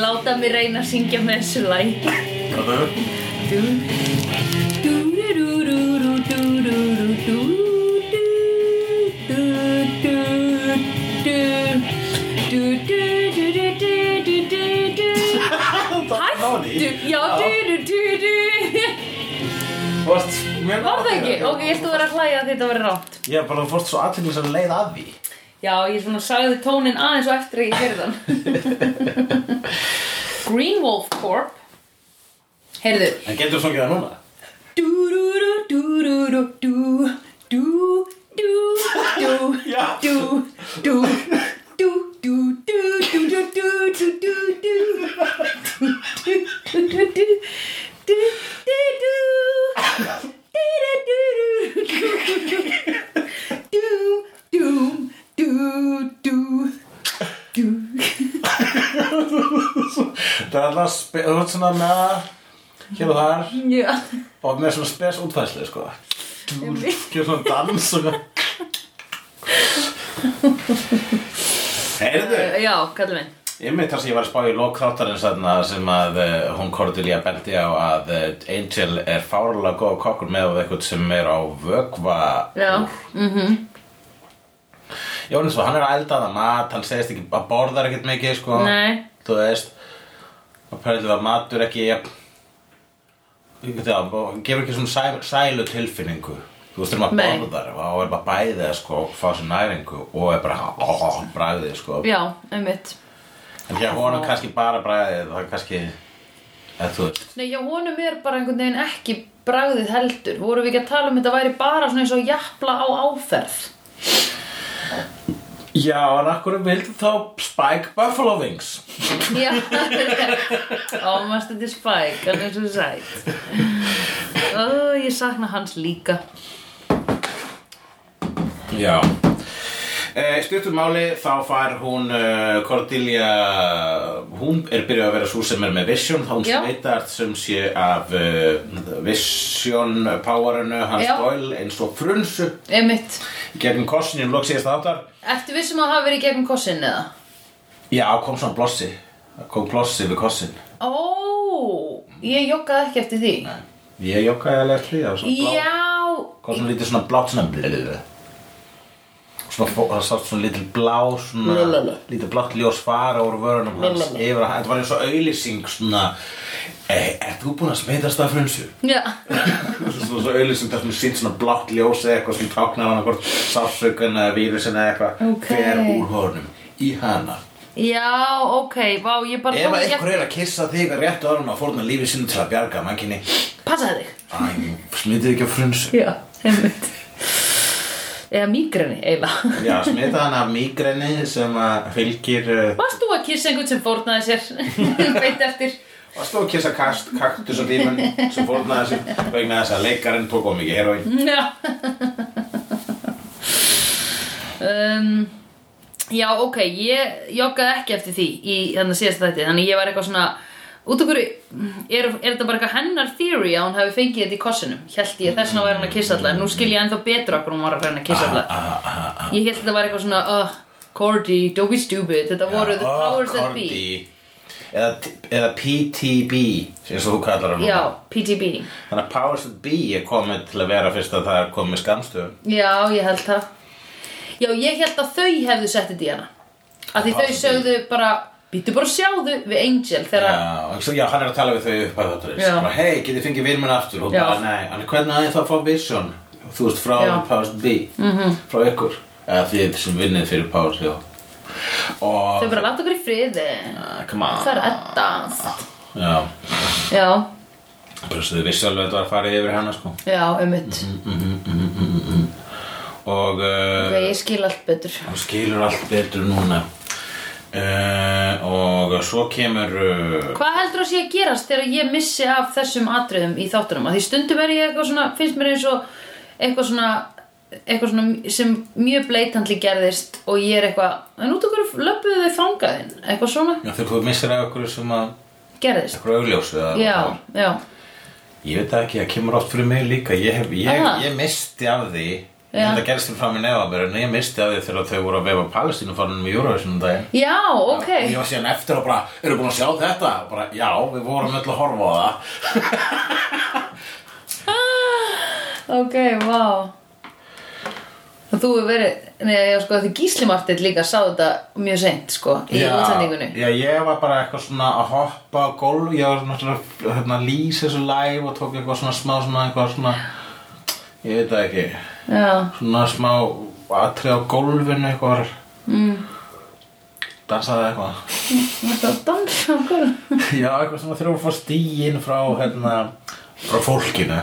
láta mig reyna að syngja með þessu læg Dú Dú dú dú dú dú dú dú dú dú dú dú dú dú dú dú dú dú dú dú dú dú Hættu Já dú dú dú dú Vart, mér Var það ekki? Ok, ég ætti að vera að hlæja að þetta var rátt Já, bara þú fórst svo aðtýrlis að leið að því Já, ég svona sagði tónin aðeins og eftir að ég heyrði hann Green Wolf Corp Heyrðu En getur þú sungið það núna? Dúrúrú, dúrúrú, dú Dú, dú, dú Já. Dú, dú, dú, dú, dú, dú, dú, dú, dú, dú, dú Dú, dú, dú, dú, dú, dú, dú Dú, dú, dú, dú, dú, dú Dú, dú, dú, dú, dú Það er alltaf, spe- þú ert svona með það Hér og þar Já, Og með svona spes útfæslu, sko einmitt. Gjör svona dans og Heyrðu já, kallum minn Ég mynd þar sem ég var að spá í lokþáttarins þarna sem að uh, hún Cordelia benti á að uh, Angel er fárlega góð kokkur með eitthvað sem er á vökva Já, Jónis og hann er að elda það mat, hann segist ekki að borðar ekkert mikið sko Nei. Þú veist, og pæliði var matur ekki jafn Ég veit það, og hann gefur ekki svona sæ, sælu tilfinningu Þú veist, þegar Nei. maður borðar og er bara bæðið sko, og fá sér næringu og er bara oh, bræðið sko já, einmitt En hér honum kannski bara bræðið, það er kannski, eða þú veist Nei, já, honum er bara einhvern veginn ekki bragðið heldur. Vorum við ekki að tala um þetta væri bara svona eins og jafla á áferð? Já, en akkur vildi þá Spike Buffalo Wings Já, ó, mannst þetta er Spike, hann er svo sætt. Ó, ég sakna hans líka. Já e, Stuttum máli þá fær hún uh, Cordelia hún er byrjuð að vera svo sem er með Vision þá hún Já. sveitar sem sé af uh, Vision powerinu hans Já. Doyle eins og frunsu Einmitt, gegn kossinu um lok síðasta áttar ertu vissum að hafa verið í gegnum kossin eða? Já, kom svona blossi kom blossi við kossin Ó, ég joggaði ekki eftir því. Ég jokkaði alveg eftir því það var svona blá- Já, Kom svona lítið svona blátt svona blöðu Svona fó- það sátt svona lítið blá svona Lalalala. lítið blátt ljós fara úr vörunum hans Lalalala. yfir að þetta var eins og auðlýsing svona Ei, ert þú búinn að smitast af frunsu? já, svona svo auðlýsing þar sem er sínt svona blátt ljós eða eitthvað sem táknar hann hvort sársökun eða vírusin eða eitthvað Ókei. fer úr honum í hana já, ok, vá, ég bara Ef að tók einhver er að kissa þig að réttu árum að fórna lífið sinni til að bjarga mannkynni Passaði þig. Æ, smitið ekki af frunsu Já, einmitt. Eða mígreni, eiginlega. Já, smita hann af migrenni sem að fylgir uh, Varst þú að kissa einhvern sem fórnaði sér Beitt eftir og stóð að kissa kast, kaktus og dímun sem fórnaði sig vegna þess að leikarinn tók á mikið heroin Já um, Já, ok Ég joggaði ekki eftir því í þannig síðast þætti Þannig ég var eitthvað svona Út okkur, er, er þetta bara eitthvað hennar theory að hún hafi fengið þetta í kossinum Hélt ég þess vegna væri hún að kissa alla En nú skil ég ennþá betur okkur hún var að reyna að kissa Ah, alla Ég hélt þetta var eitthvað svona uh, Cordy, don't be stupid Þetta voru the Ah, powers that be eða, eða PTB eins og þú kallar hann Já, PTB þannig að powers that be er komið til að vera fyrst að það er komið skamstöðum Já, ég held það Já, ég held að þau hefðu sett þetta í hana Af því þau Possibly. sögðu bara Býttu bara og sjáðu við Angel þegar Já, að og svo- já, hann er að tala við þau upp að þátturins Já. bara, hei, getið fengið virminn aftur og hún Já. bara, nei, hann er hvernig að ég þá að fá vision þú veist, frá Já. Mhm. powers that be -hmm. frá ykkur, eða þið sem vinnið fyrir powers já. og þau bara láta okkur í friði Ah, come on Það er eddast Já, Já, bara svo þið vissu alveg að þetta var að fara yfir hana sko já, ummitt Og uh, Ok, ég skil allt betur hún skilur allt betur núna uh, Og svo kemur uh, Hvað heldur að sé að gerast þegar ég missi af þessum atriðum í þáttunum? Af því stundum er ég eitthvað svona, finnst mér eins og eitthvað svona eitthvað svona sem mjög bleitandli gerðist og ég er eitthvað en út okkur löpuðu þau þangaðinn eitthvað svona Já, þegar þú missir af okkur sem að gerðist Okkur augljósu eða- Já, já, Ég veit það ekki, það kemur oft fyrir mig líka Ég, hef, ég, Ah. ég misti af því Já. Þetta gerst fyrir fram í nefabur en ég misti að því þegar þau voru að vefa Palestínufarnum í Eurovision um daginn. Já, ok Ég var síðan eftir og bara, eru búin að sjá þetta? Og bara, já, við vorum öll að horfa á það. Ok, vá Þú hefur verið, neða, já, sko, því Gísli Martin líka sá þetta mjög seint, sko, í Já, útsendingunni Já, ég var bara eitthvað svona að hoppa á gólf, ég var náttúrulega hérna, að lýsa þessu live og tók eitthvað svona smá svona eitthvað svona, ég veit það ekki, Já, svona smá atrið á gólfinu eitthvað, mm, dansaði eitthvað. þetta var dansa á hverju Já, eitthvað sem að þurfa að fá stíin frá, hérna, frá fólkinu,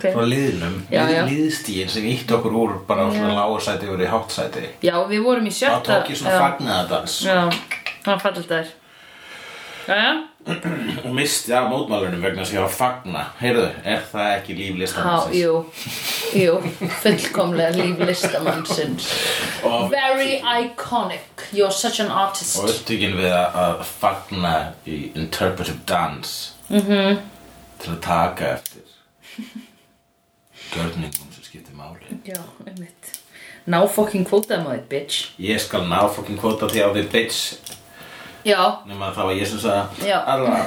frá okay. liðnum, Já, já. liðstíin sem ítti okkur úr bara á svona lágasæti yfir í háttsæti. Já, við vorum í Þá sjötta tók ég svona já. fagnaðadans Já, það var fallið þær Jæja, og misti af mótmælunum vegna þess að ég var að fagna. Heyrðu, er það ekki á, líflistansins? jú, jú, fullkomlega líf listamannsins Og- Very iconic, you're such an artist og upptökin við að, að fagna í interpretive dance -hmm. til að taka eftir görningum sem skiptir máli Já, einmitt Ná fucking kvótaði maður, bitch ég skal ná fokkin kvota því á því bitch Já, nema að það var ég sem sagði Já. alveg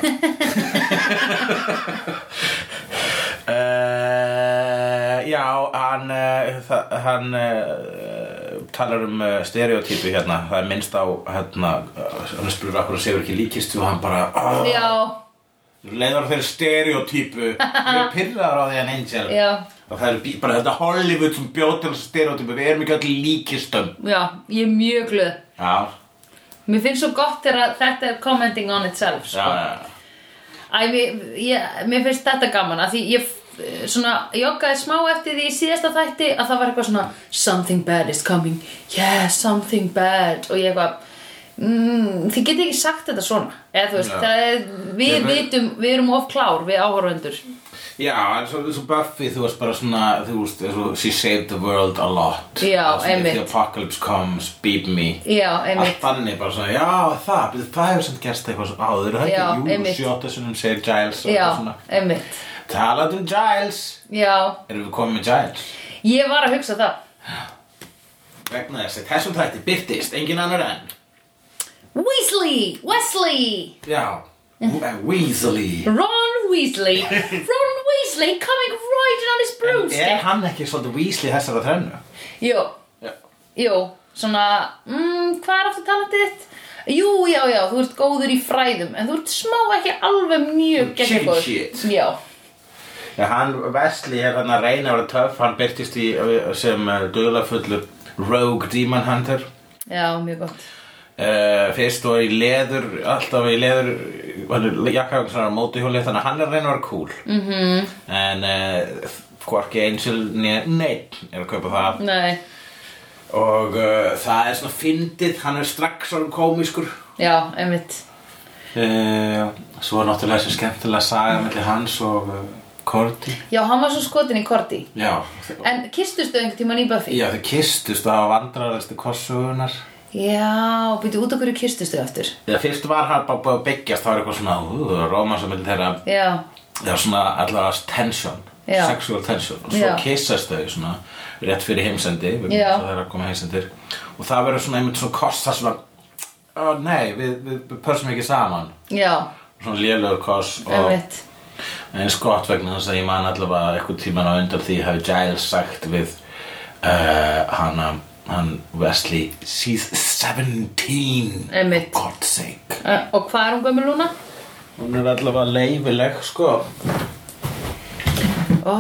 Uh, já, hann, uh, það- hann uh, talar um uh, stereotypu hérna, það er minnst á hérna, uh, hann spurði okkur að séu ekki líkistu og hann bara oh, já, leiður þeir stereotypu við pyrrar á því en Angel Já. og það er bí- bara þetta Hollywood sem bjóð til þessu stereotypu við erum ekki allir líkistum já, ég er mjög glöð já, Mér finnst svo gott þegar að þetta er commenting on itself já, sko. já, Æ, mér, ég, mér finnst þetta gaman að því ég eh, svona joggaði smá eftir því í síðasta þætti að það var eitthvað svona something bad is coming, yeah, something bad og ég eitthvað mm, þið getið ekki sagt þetta svona eða þú veist, Já. það er, við Ég veit- vitum við erum of klár við áhorfendur já en svo, svo Buffy þú veist bara svona þú veist, svo, she saved the world a lot Já, Það er svona, einmitt. if the apocalypse comes, beep me já, allt einmitt, þannig bara svona, já það byrju, það hefur sem gerst eitthvað svona áður er það Já, ekki, jú, einmitt. sjóta sem segir Giles og já, eitthvað svona. einmitt talandi um Giles já, erum við komin með Giles ég var að hugsa það vegna þess að þessum þætti byrtist engin annar enn Weasley, Wesley, Já, Weasley Ron Weasley, Ron Weasley coming riding on his Er broomstick. hann ekki svolítið Weasley þessara þrennu? Jú, Já jú, svona, mm, hvað er aftur talandi þitt? Jú, já, já, þú ert góður í fræðum, en þú ert smá ekki alveg mjög Shit, gegn góður. shit. Já, Já, hann, Wesley er hann að reyna að vera töff Hann byrtist í, sem döðlafullur Rogue Demon Hunter já, mjög gott. uh, Fyrst og í leður, alltaf í leður Hann er jakkaðum svona mótuhjóli Þannig að hann er að reyna að vera cool mm -hmm. En uh, hvorki Angel né, nei, er að kaupa það Nei, Og uh, það er svona fyndið, hann er strax svona komiskur já, einmitt. Uh, svo er náttúrulega þessi skemmtilega saga mellir hans og uh, Korti Já, hann var svo skotin í Korti. Já, En kistustu einhvern tímann í Buffy? já þau kistust það var vandrarlistu kossugunar Já, byrju út okkur kistustu aftur. Þegar fyrst var hann bara búið að byggjast þá var eitthvað svona uh, rómans að mellir þeirra Já, það var svona allavega tension Já. sexual tension og svo Já. kissast þau svona rétt fyrir heimsendi Já. þeirra koma heimsendir og það verður svona einmitt svona koss það svona ó nei, við, við, við pörsum ekki saman já, svona lélugur koss og einmitt. En eins gott vegna þess að ég man allavega eitthvað tíman á undan því hafi Giles sagt við uh, hana, hann Wesley She's 17 Einmitt. For God's sake Uh, og hvað er hún gömur núna? Hún er allavega leifileg sko Ó,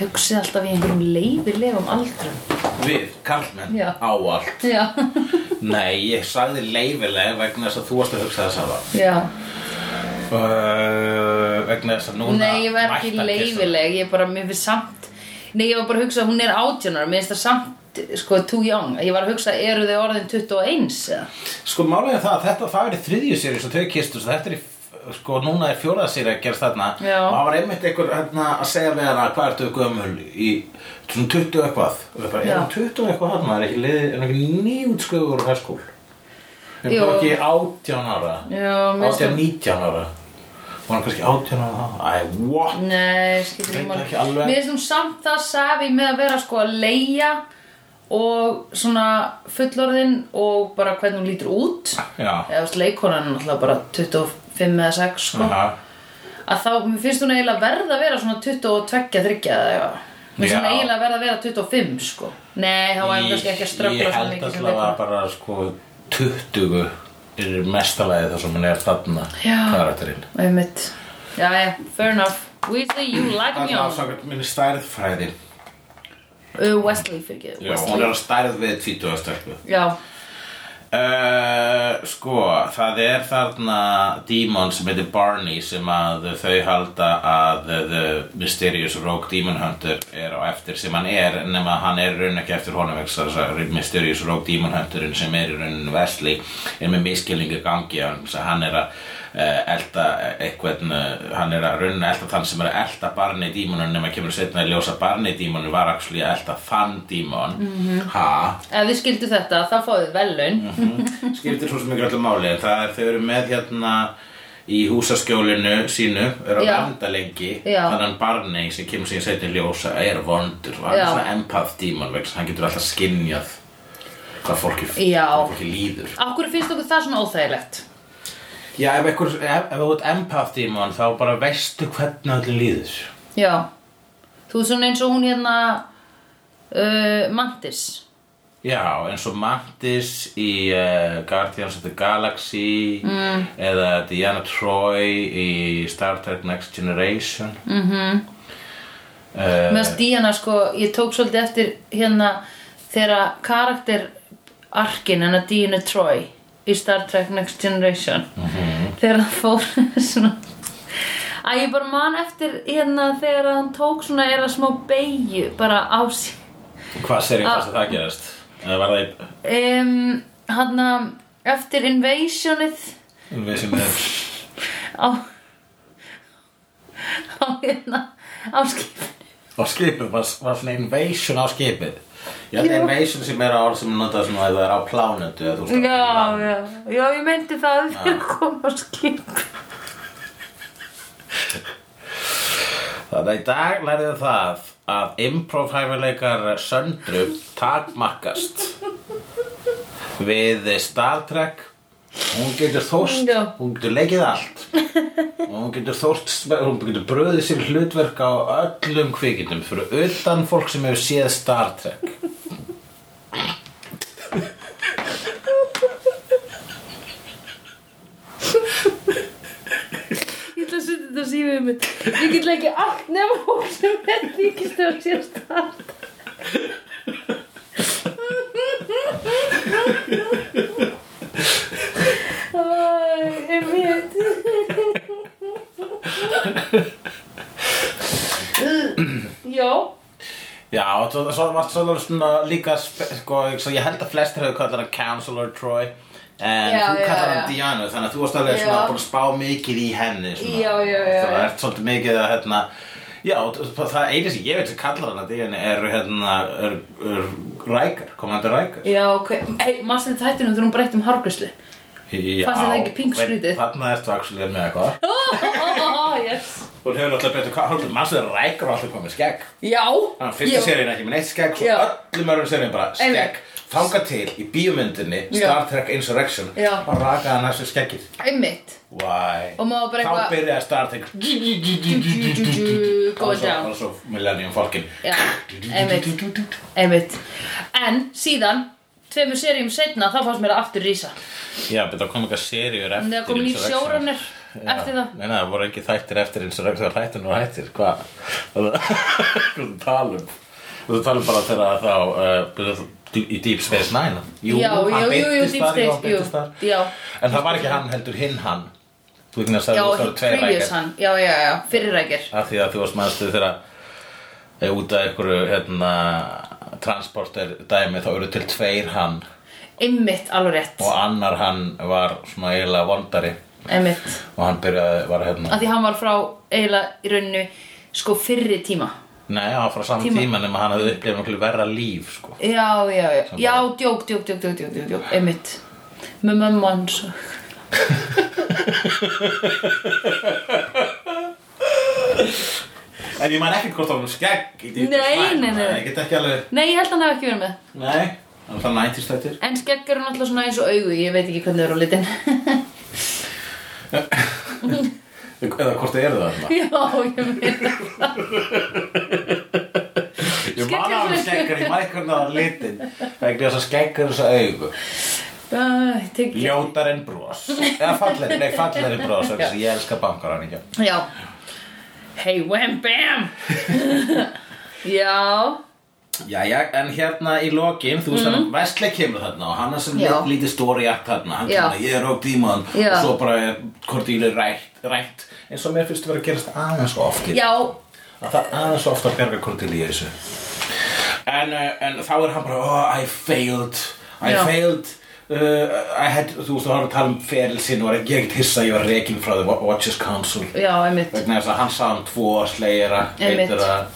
hugsið alltaf í einhverjum leifilegum aldrum. Við, karlmenn, Já. áallt Já. Nei, ég sagði leifileg vegna þess að þú varst að hugsa þess að það Já. uh, Vegna þess að núna Nei, ég var ekki mætti að kyssa. leifileg, ég bara, mér finnst samt, nei, ég var bara að hugsa að hún er 18 ára, mér finnst það samt, sko, too young. Ég var að hugsa, eru þau orðin 21 eða? Sko málega það, að þetta það er í þriðju séri sem þau kistu, svo þetta er í f- sko núna er fjóraða séri að gerast þarna Já. og það var einmitt einhver hérna að segja við hana hvað ertu gömul í svona 20 og eitthvað og það bara, Já. er hann 20 og eitthvað þarna, er ekki liðið er ekki nýjútskriður úr hæskól er Jú. bara ekki 18 ára Já, mér finnst 18-19 ára var hann kannski átján ára þá Æ, what? Nei, skiptir ekki Reyndar máli. ekki alveg. Mér finnst hún samt það safi með að vera sko að leia og svona fullorðin og bara hvernig hún lítur út Já, eða þú veist, leikonan er náttúrulega bara 25 eða 6 sko Aha. að þá, mér finnst hún eiginlega verða að vera svona 22, 30 eða eitthvað Mér finnst hún Já. eiginlega verða að vera 25 sko Nei, þá var hann Ég- kannski ekki að ströggla Ég svona held mikið alltaf sem að það var leikona. bara sko 20 er mestalagi það sem hann er þarna Já. karakterinn Einmitt. Já, já, fair enough Weasley, you like me Alltaf on samkvæmt minni stærðfræði uh, Wesley, fyrir Já, hún er á stærð við 20 stelpu Já, Uh, sko, það er þarna dímon sem heitir Barney sem að þau halda að the, the Mysterious Rogue Demon Hunter er á eftir sem hann er nema hann er í raun ekki eftir honum vegna þess að Mysterious Rogue Demon Hunterinn sem er í raunin Wesley er með miskilningu í gangi hann, hann er að uh, elda eitthvað eh, hann er að runna elda þann sem er að elda barni dímonun nema kemur setna að ljósa barni dímonun var actually að elda þann dímon mm -hmm. ha ef þið skildu þetta, þá fáið þið velun Mhm. skiptir svo sem ekki alltaf máli en það er þau eru með hérna í húsaskjólinu sínu eru að Já. venda lengi Já. þannig Barney sem kemur sér setni ljósa er vondur og hann Já. er svona empath dímon vegna þess að hann getur alltaf skinjað hvað fólki, Já. hvað fólki líður Akkur finnst okkur það svona óþægilegt Já, ef, ekkur, ef, ef þú ert empath dímon þá bara veistu hvernig allir líður Já Þú er svona eins og hún hérna uh, Mantis Já, eins og Mantis í uh, Guardians of the Galaxy mm. eða Diana Troy í Star Trek Next Generation mm -hmm. Mér finnst Díana sko, ég tók svolítið eftir hérna þegar karakter arkin hennar Díana Troy í Star Trek Next Generation þegar hann fór svona að ég bara man eftir hérna þegar hann tók svona eða smá beigju bara á sig Hvað serið fannst að það gerast? Eða var það um, hann eftir invasionið um við sem er á á hérna á skipinu á skipið, var, var svona invasion á skipið Ég held að invasion sem er á orð sem er notað svona að það er á plánundu eða þú veist, já, á land. já, já, ég meinti það þegar kom á skipinu Þannig að í dag lærið við það að improv hæfileikar söndru takmarkast við Star Trek hún getur þóst Já. hún getur leikið allt og hún getur þóst hún getur bröðið sér hlutverk á öllum kvikindum fyrir utan fólk sem hefur séð Star Trek ég ætla að setja þetta sífið mitt ég get ekki allt nema hún sem er líkist að sé start Æ, ég veit Já Já, og svo svo var svolítið svona líka, spe- sko, svo ég held að flestir hefur kallar hann Counselor Troy En Já, þú já, kallar hann já. Diana, þannig að þú varst alveg svona Já. búin að spá mikið í henni svona, Já, já, já, Það já. er svolítið mikið að, hérna, já, og það einu sem ég veit sem kallar hann Diana er, hérna, er, er Rækar, komandi Rækar Já, ok. Hey, mannstu þetta þættinum þegar hún breytti um hárgrisli? Fannst þér það ekki pink skrítið? Þarna ertu actually með eitthvað Ó, ó, ó, ó, yes. Hún hefur alltaf betur, hvað, mannstu þér Rækar var alltaf komið skegg Já. Þannig að fyrsta Ég- seríin ekki með neitt skegg Já. Svo öllum öðrum seríin bara skegg Einmitt. Þanga til í bíómyndinni Star Trek Insurrection Já. Bara rakaði hann af sér skeggið Einmitt. Why? Og maður bara Þá eitthvað- byrjaði Star Trek Go Og svo- down. og svo Millennium Falcon Já, einmitt, einmitt. En síðan, tveimur seríum setna, þá fannst mér að aftur rísa. Já, betur að koma eitthvað seríur En eftir það kom nýr Insurrection. sjórannir Já. eftir það. Nei, nei, það voru ekki þættir eftir Insurrection Það var Þættir nú hættir, hvað? Hvað þú talum? Þú talum bara þegar þá uh, byrjuðu í Deep Space Nine Jú, já, hann já, jú, jú, birtist Deep þar, já, hann Space, jú. birtist þar. Já, En það var ekki hann heldur hinn hann Þú veit að já, það voru tveir previous rækjar hann. Já, já, já, fyrirrækir. Af því að þú varst mannstu þegar eh, út af einhverju hérna, transporter dæmi þá eru til tveir hann Einmitt, alveg rétt. og annar hann var svona eiginlega vondari Einmitt. og hann byrjaði var hérna Af því hann var frá eiginlega í rauninu, sko, fyrri tíma. Nei, hann var frá saman Tíma. tíma, nema hann hafði upplifað miklu verra líf sko. Já, já, já, Sem já, djók, djók, djók, djók, djók, djók, djók, einmitt Með mömmu hans En ég man ekkert hvort það var skegg í Deep Nei, Space Nine, nei, nei. þannig að Ég get ekki alveg Nei, ég held að hann hafi ekki verið með Nei, það var það næntist þættir En skegg eru náttúrulega svona eins og augu Ég veit ekki hvernig þau eru á litin Eða hvort það eru það þarna. Já, ég veit Ég man að það skeggur, ég man ekki hvernig það var litin Vegna þess að skeggur þess að augu Æ, ég tek- Ljótar en bros Eða fallir, nei fallir en bros Þess að ég elska bankar hann ekki Já Hey, wham, bam Já Jæja, en hérna í lokin, þú veist mm. hann, Vestley kemur þarna og hann er sem Mhm. Já. lit, lítið stóri jatt þarna, hann Já. kemur að ég er á dímann Já. og svo bara er Cordílu rætt, rætt, eins og mér finnst að vera að gerast aðeins og ofkið, Já, að það er aðeins og ofta að berga Cordílu í þessu. En, eh, en þá er hann bara, oh, I failed, I Já. failed, uh, I had, þú veist, þá var að tala um feril sinn og var ekki ekkert hissa, að ég var rekin frá The Watchers Council, já, einmitt vegna þess að hann sá um tvo slegera, Einmitt. eitt er að,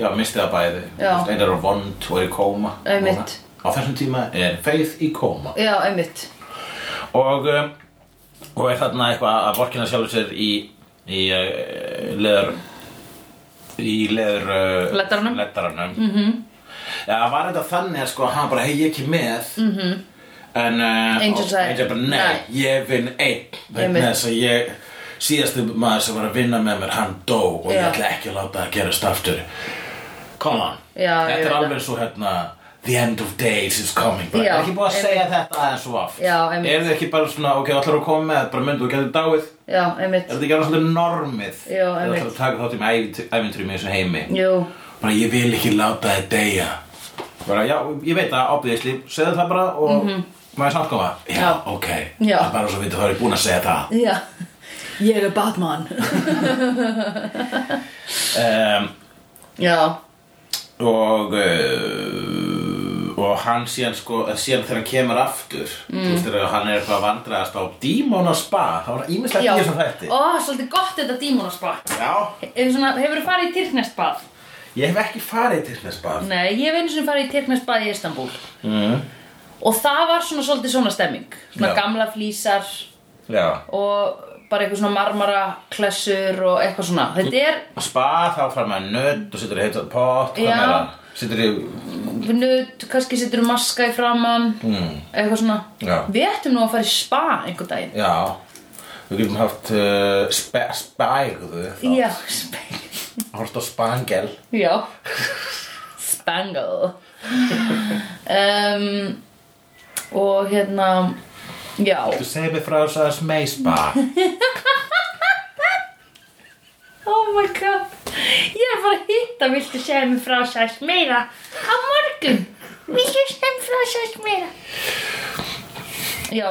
já, misti það bæði, Já. einn er að vond og er í kóma. Einmitt. núna. Á þessum tíma er Faith í kóma Já, einmitt og, um, og er þarna eitthvað að vorkina sjálfur sér í, í uh, leður í leður uh, Leddaranum. Mhm. leddaranum. Mm -hmm. Já, var þetta þannig að sko hann bara, hei, ég er ekki með mm -hmm. en uh, Mhm. Angel og- sagði, Angel bara, nei, "Nei." ég vinn einn Einmitt. vegna þess að ég síðastu maður sem var að vinna með mér, hann dó og ég Já. ætla ekki að láta það gerast aftur come on Já, ég þetta veit er það. alveg svo hérna the end of days is coming back Já, er ekki búið að einmitt. segja þetta aðeins svo oft Já, er einmitt. þið ekki bara svona, ok, allar að koma með bara myndu og getur dáið er Já, einmitt þetta ekki alveg svolítið normið Já, Eða einmitt. ætlarðu að taka þátt í með ævintri með þessu heimi Jú, bara ég vil ekki láta þið deyja bara, já, ég veit það, obviously segðu það bara og maður samt koma já, Mhm. Já. ok, Já. það er bara svo vitið þá er ég búin að segja það já Ég er Batman um, Já, og uh, og hann síðan sko síðan þegar hann kemur aftur mm. veist, þegar hann er eitthvað að vandræðast á Dímon og Spa, það var ímislegt í já þessum þætti Ó, svolítið gott þetta dímonaspa Já, Hefur þú farið í Tyrknestbað? ég hef ekki farið til þess Spa Nei, ég hef einu sinni farið í Tyrknestbað í Istanbul mm. Mhm. Og það var svona svolítið svona stemming Svona Já. gamla flísar Já og bara eitthvað svona marmara klessur og eitthvað svona Þetta er Spa þá fara með nödd og situr í heitan pott, hvað Já. meira Situr í, nutt, kannski setur maska í framann mm, Eitthvað svona Já. Við ættum nú að fara í spa einhvern daginn já Við getum haft uh, spe, spægðu þá Já, spa- Hort á spangel já Spangle um, Og hérna Já Þú segir mig frá þess að smeg spa Oh my god Ég er bara að hitta, viltu segja mér frá sætt meira á morgun Viltu segja mér frá sætt meira Já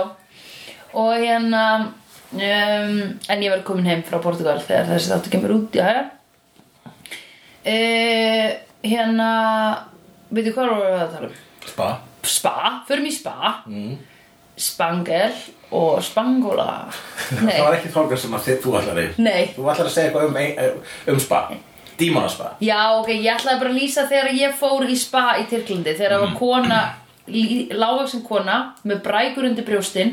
Og hérna um, En ég var komin heim frá Portugal þegar þessi þáttu kemur út Já, já uh, Hérna Veitu hvað voru við að tala um? Spa Spa, förum í spa mm. Spangel og spangola Nei, Það var ekki þorgar sem að þið þú allar í nei Þú ætlar að segja eitthvað um, ein- um spa Dímonaspa Já, ok, ég ætlaði bara að lýsa þegar ég fór í spa í Tyrklandi þegar Mhm. það var kona, lágvaksin kona með brækur undir brjóstin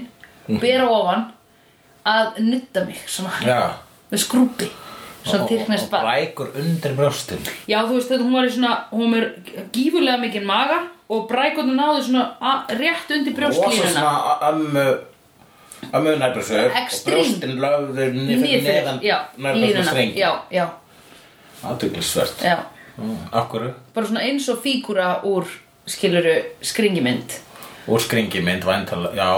bera ofan að nutta mig svona Já með skrúpi svona Tyrknes Og spa brækur undir brjóstin Já, þú veist þetta, hún var í svona, hún er gífurlega mikinn maga og brækurnu náðu svona a- rétt undir Og svo brjóstlínuna svona ömmu Ömmu nærbjörsur Extreme. Og brjóstin löfður Niður niður fyrir, neðan já, línuna nærbjörsstreng Já, já, Aðtöklisvert já Akkur bara svona eins og fígúra úr skiluru skringimynd Og skringi mynd væntalega Já,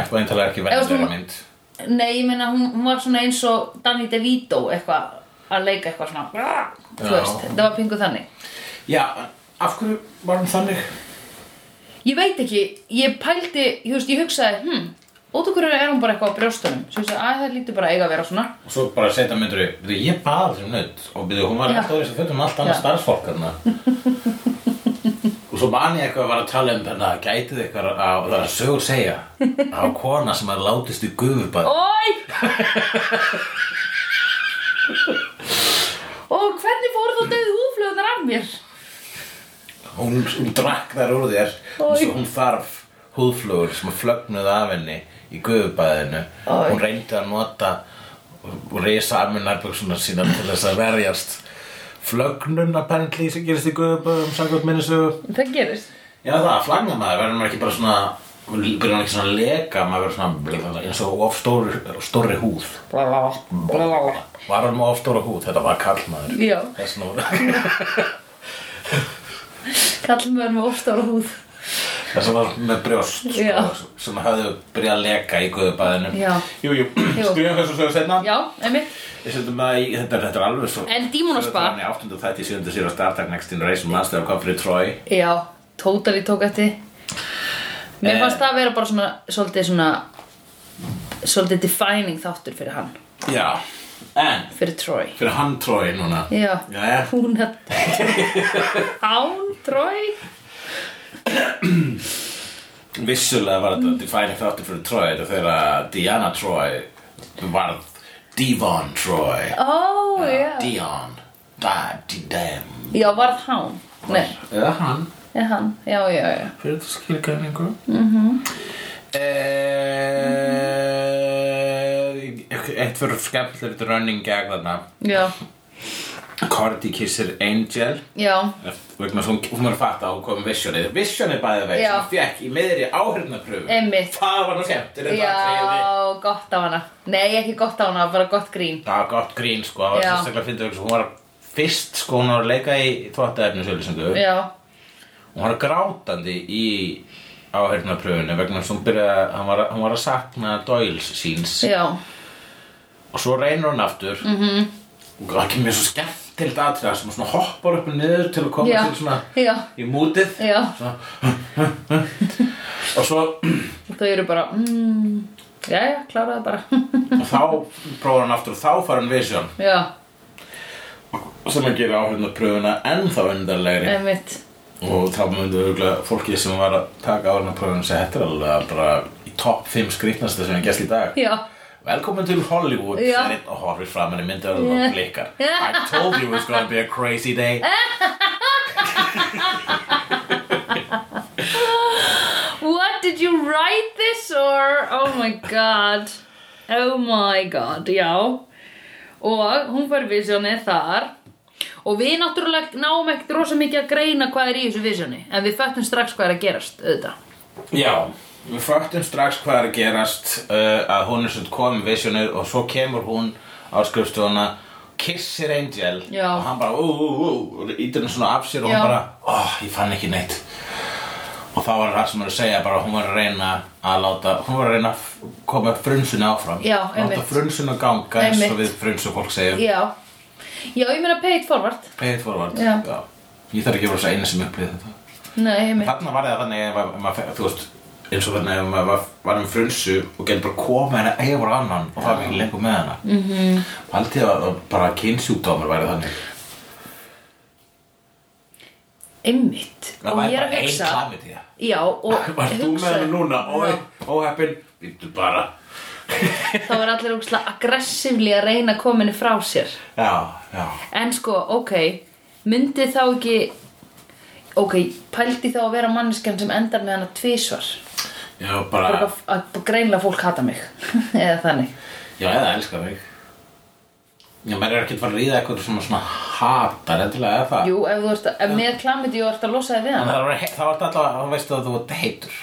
ekki væntalega ekki Ef þú- væntalega mynd Nei, ég meina hún, hún var svona eins og Danny DeVito eitthvað að leika eitthvað svona Þú Já. veist, það var pingu þannig Já, af hverju var hún þannig? Ég veit ekki, ég pældi, ég, veist, ég hugsaði hm, út okkur er hún bara eitthvað á brjóstunum Svo ég segi, að það lítur bara að eiga að vera svona Og svo bara setja myndur í Byrju, ég baða þér um nödd Og byrju, hún var Já. alltaf þess að fötum allt annað Já. starfsfólk hérna Og svo man ég eitthvað að var að tala um þarna Gætið eitthvað að það var sögur segja Á kona sem að látist í gufubad Ói! Og hvernig fóru þá döðu húflöðunar af mér? Hún, hún drakk þar úr þér Oj. eins og hún þarf húðflugur sem flögnuðu af henni í guðubæðinu Oj. hún reyndi að nota og reysa amminarbuxuna sína til þess að verjast flögnun apparently sem gerist í guðubæðum samkvæmt minnisögu Það gerist Já það, flagna maður verður maður ekki bara svona byrjar maður ekki svona að leka maður verður svona blá, eins og of stóri, stóri húð Bla bla bla bla bla bla Var hann með of stóra húð, þetta var kallmaður Já, Þess nú, kallum við hann með ofstára húð þess var með brjóst Já. sko, sem hafðu byrjað að leka í guðubæðinu Já. Jú, jú, Jú. skrifum þessu sögur setna Já, einmitt Ég setjum það í, þetta, þetta er alveg svo En Dímon og Spa? Þannig áttundu þætti sjöundu sér á Star Trek Next Generation Last Day of Comfrey Troy Já, totally tók eftir Mér Eh. fannst það að vera bara svona svolítið svona svolítið defining þáttur fyrir hann Já, en fyrir Troy fyrir hann Troy núna Já, Jæja. hún að Án Troy Vissulega var þetta defining þáttur fyrir Troy Þetta þegar Diana Troy varð Devon Troy Ó, já Dion Da, di, dem Oh, Já, varð hán Nei, Eða hann er hann Já, já, já Fyrir þetta skilgæningu mm Eh, -hmm. Eitt fyrir skemmtilegt running gag þarna Já, Cordy kissir Angel já, vegna þess að hún, hún var að fatta að hún kom með visionið visionið bæði veginn Já. sem hún fekk í miðri áhrifnapröfu Einmitt. það var nú skemmtilegt atriði. já Gott á hana Nei, ekki gott á hana, bara gott grín það var gott grín sko það var Já. sérstaklega fyndið vegna þess að hún var fyrst sko hún var að leika í þvottaefnisölusingu Já, hún var grátandi í áhrifnapröfunni vegna þess að hún byrjaði að- hún var, að- hún var að sakna Doyles síns já, og svo reynir hún aftur mm Mhm. -hmm. og það kemur svo skemmtilegt atriða sem hún svona hoppar upp og niður til að koma Já. til svona Já. í mútið já svona, og svo Þau eru bara mm, Já, já, kláraðu bara og þá prófar hann aftur og þá fara hann vision Já, sem að gera áhrifna pröfuna ennþá undarlegri einmitt og þá myndu auðvitað fólkið sem var að taka áhrifna pröfuna sem þetta er alveg bara í topp 5 skrýtnasta sem ég gæst í dag Já, Velkomin til Hollywood Já. sagði einn og horfir fram henni myndi alveg Yeah. yeah. blikkar I told you it was gonna be a crazy day What did you write this or? Oh my god Oh my god, já Og hún fær visionið þar Og við náttúrulega náum ekkert rosa mikið að greina hvað er í þessu visioni En við föttum strax hvað er að gerast, auðvitað Já, við föttum strax hvað er að gerast uh, að hún er svona komin visionið og svo kemur hún á skrifstofuna kissir Angel Já. og hann bara ú, ú, ú, og ítir henni svona af sér og Já. hún bara, ó, ég fann ekki neitt og það var það sem hann er að segja bara hún var að reyna að láta hún var að reyna að koma frunsunni áfram Já, láta einmitt. frunsunni ganga eins og Einmitt. við frunsu fólk segjum Já Já, ég meina pay it forward Pay it forward Já. ég þarf ekki að vera svo einu sem upplýði þetta Nei, einmitt Þarna var það þannig ef að- ef maður, fe- þú veist, eins og þannig að maður var, var með frunsu og gæti bara koma henni yfir á annan og það var ekki lengur með hana. Mm Mhm. -hmm. Haldið að að bara kynsjúkdómur væri þannig. Einmitt Það Og væri ég er bara að ein hugsa klamið í það. Já, og Var þú með henni núna? Ói, Já. óheppin, býttu bara. Þá er allir ógslag aggressívli að reyna að koma henni frá sér Já, já. En sko, ok, myndi þá ekki, ok, pældi þá að vera manneskjan sem endar með hana tvísvar? Já, Bara bara, að, að greinlega fólk hata mig, eða þannig. já, eða elska mig. Já, maður er ekki að fara að ríða eitthvað sem svona hatar, endilega eða það. Jú, ef þú ert að, ef með klamiti og ert að losa þig við En hana. það var, þá var alltaf, þá veistu að þú ert heitur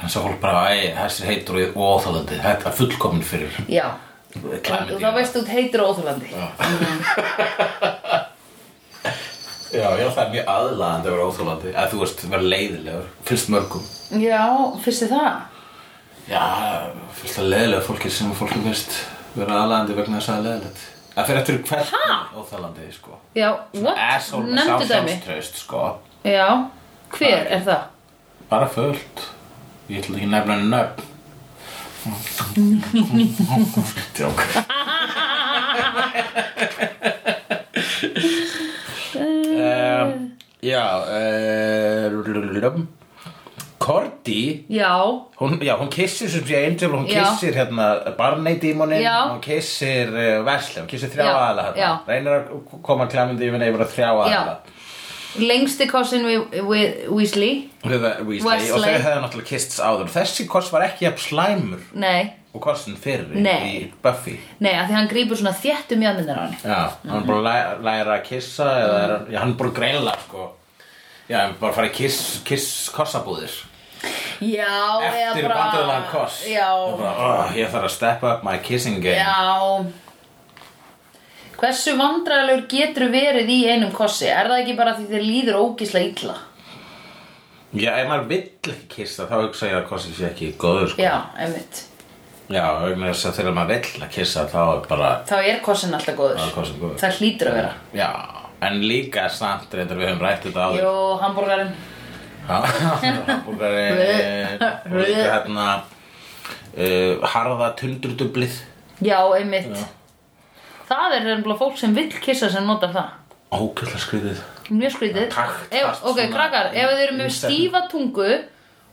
Þannig að fólk bara, ei, þessi er heitur og óþálandi Þetta er fullkomin fyrir Já, klæmið og þá veistu út heitur og óþúlandi. Já, já, það er mjög aðlaðandi að vera óþálandi Að þú veist, vera leiðilegur, finnst mörgum Já, fyrst þið það? Já, finnst það leiðilega fólki sem fólki finnst vera aðlaðandi vegna þess að það er leiðilegt Það fyrir eftir hvernig óþálandi, sko Já, what? Asshole með Nefndu dæmi. sjálfsjálfströst, sko Já, hver er það? Bara fullt Ég ætla ekki að nefna henni nöfn Tjók um, Já uh, Korti Já, Hún, já, hún kissir sem sé Angel og hún Já. kissir hérna Barney dímonin Já. hún kissir uh, Vesli, hún kissir þrjá Já, aðla hérna já. reynir að koma klæmandi yfir neyfur að þrjá aðla lengsti kossin við, við Weasley Við það- Weasley og Wesley. þau hefðu náttúrulega kistst áður Þessi koss var ekki jafn slæmur nei, og kossin fyrri Nei. í Buffy nei, að því hann grípur svona þéttum jafnindar á hann Já, hann er búin að læ- læra að kissa eða er, já, hann er búin að greila sko. Já, hann er bara að fara í kiss, kiss kossabúðir já, eða Eftir bara bandurlegan koss já, Og bara, oh, Ég þarf að step up my kissing game já hversu vandræðalegur getur verið í einum kossi er það ekki bara því þið líður ógisla illa Já, ef maður vill ekki kissa þá hugsa ég að kossin sé ekki góður sko. já, einmitt Já, vegna þess að þegar maður vill að kissa þá er bara þá er kossin alltaf góður þá er kossin góður það hlýtur að vera Já, en líka samt reyndar við höfum rætt þetta áður Jó, hambúrgarinn Hambúrgari og líka hérna uh, harða tundurdublið Já, einmitt Það er reyndar fólk sem vill kissa sem notar það ókjöldlega skriðið Mjög skrítið Takt, Ef- takt, Ok, svona krakkar, ef þið eru með innsetning. stífa tungu